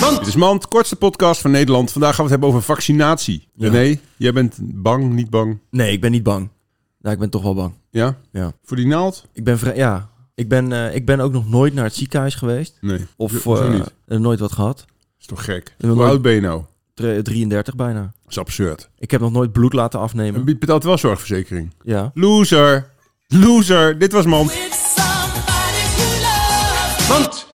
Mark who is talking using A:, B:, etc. A: Mand!
B: Dit is Mand, kortste podcast van Nederland. Vandaag gaan we het hebben over vaccinatie. René, jij bent bang, niet bang.
A: Nee, ik ben niet bang. Ja, ik ben toch wel bang.
B: Ja?
A: Ja.
B: Voor die naald?
A: Ik ben vrij... Ja. Ik ben, eh, ik ben ook nog nooit naar het ziekenhuis geweest.
B: Nee.
A: Of
B: Ho- hoezo
A: eh,
B: niet?
A: eh, nooit wat gehad.
B: Is toch gek?
A: ben
B: Hoe
A: nooit-
B: oud ben je nou?
A: Tre- 33 bijna.
B: Dat is absurd.
A: Ik heb nog nooit bloed laten
B: En
A: afnemen.
B: Piet betaalt wel zorgverzekering.
A: Ja.
B: Loser. Loser. Dit was Mand.
C: It's somebody you love.
A: Want...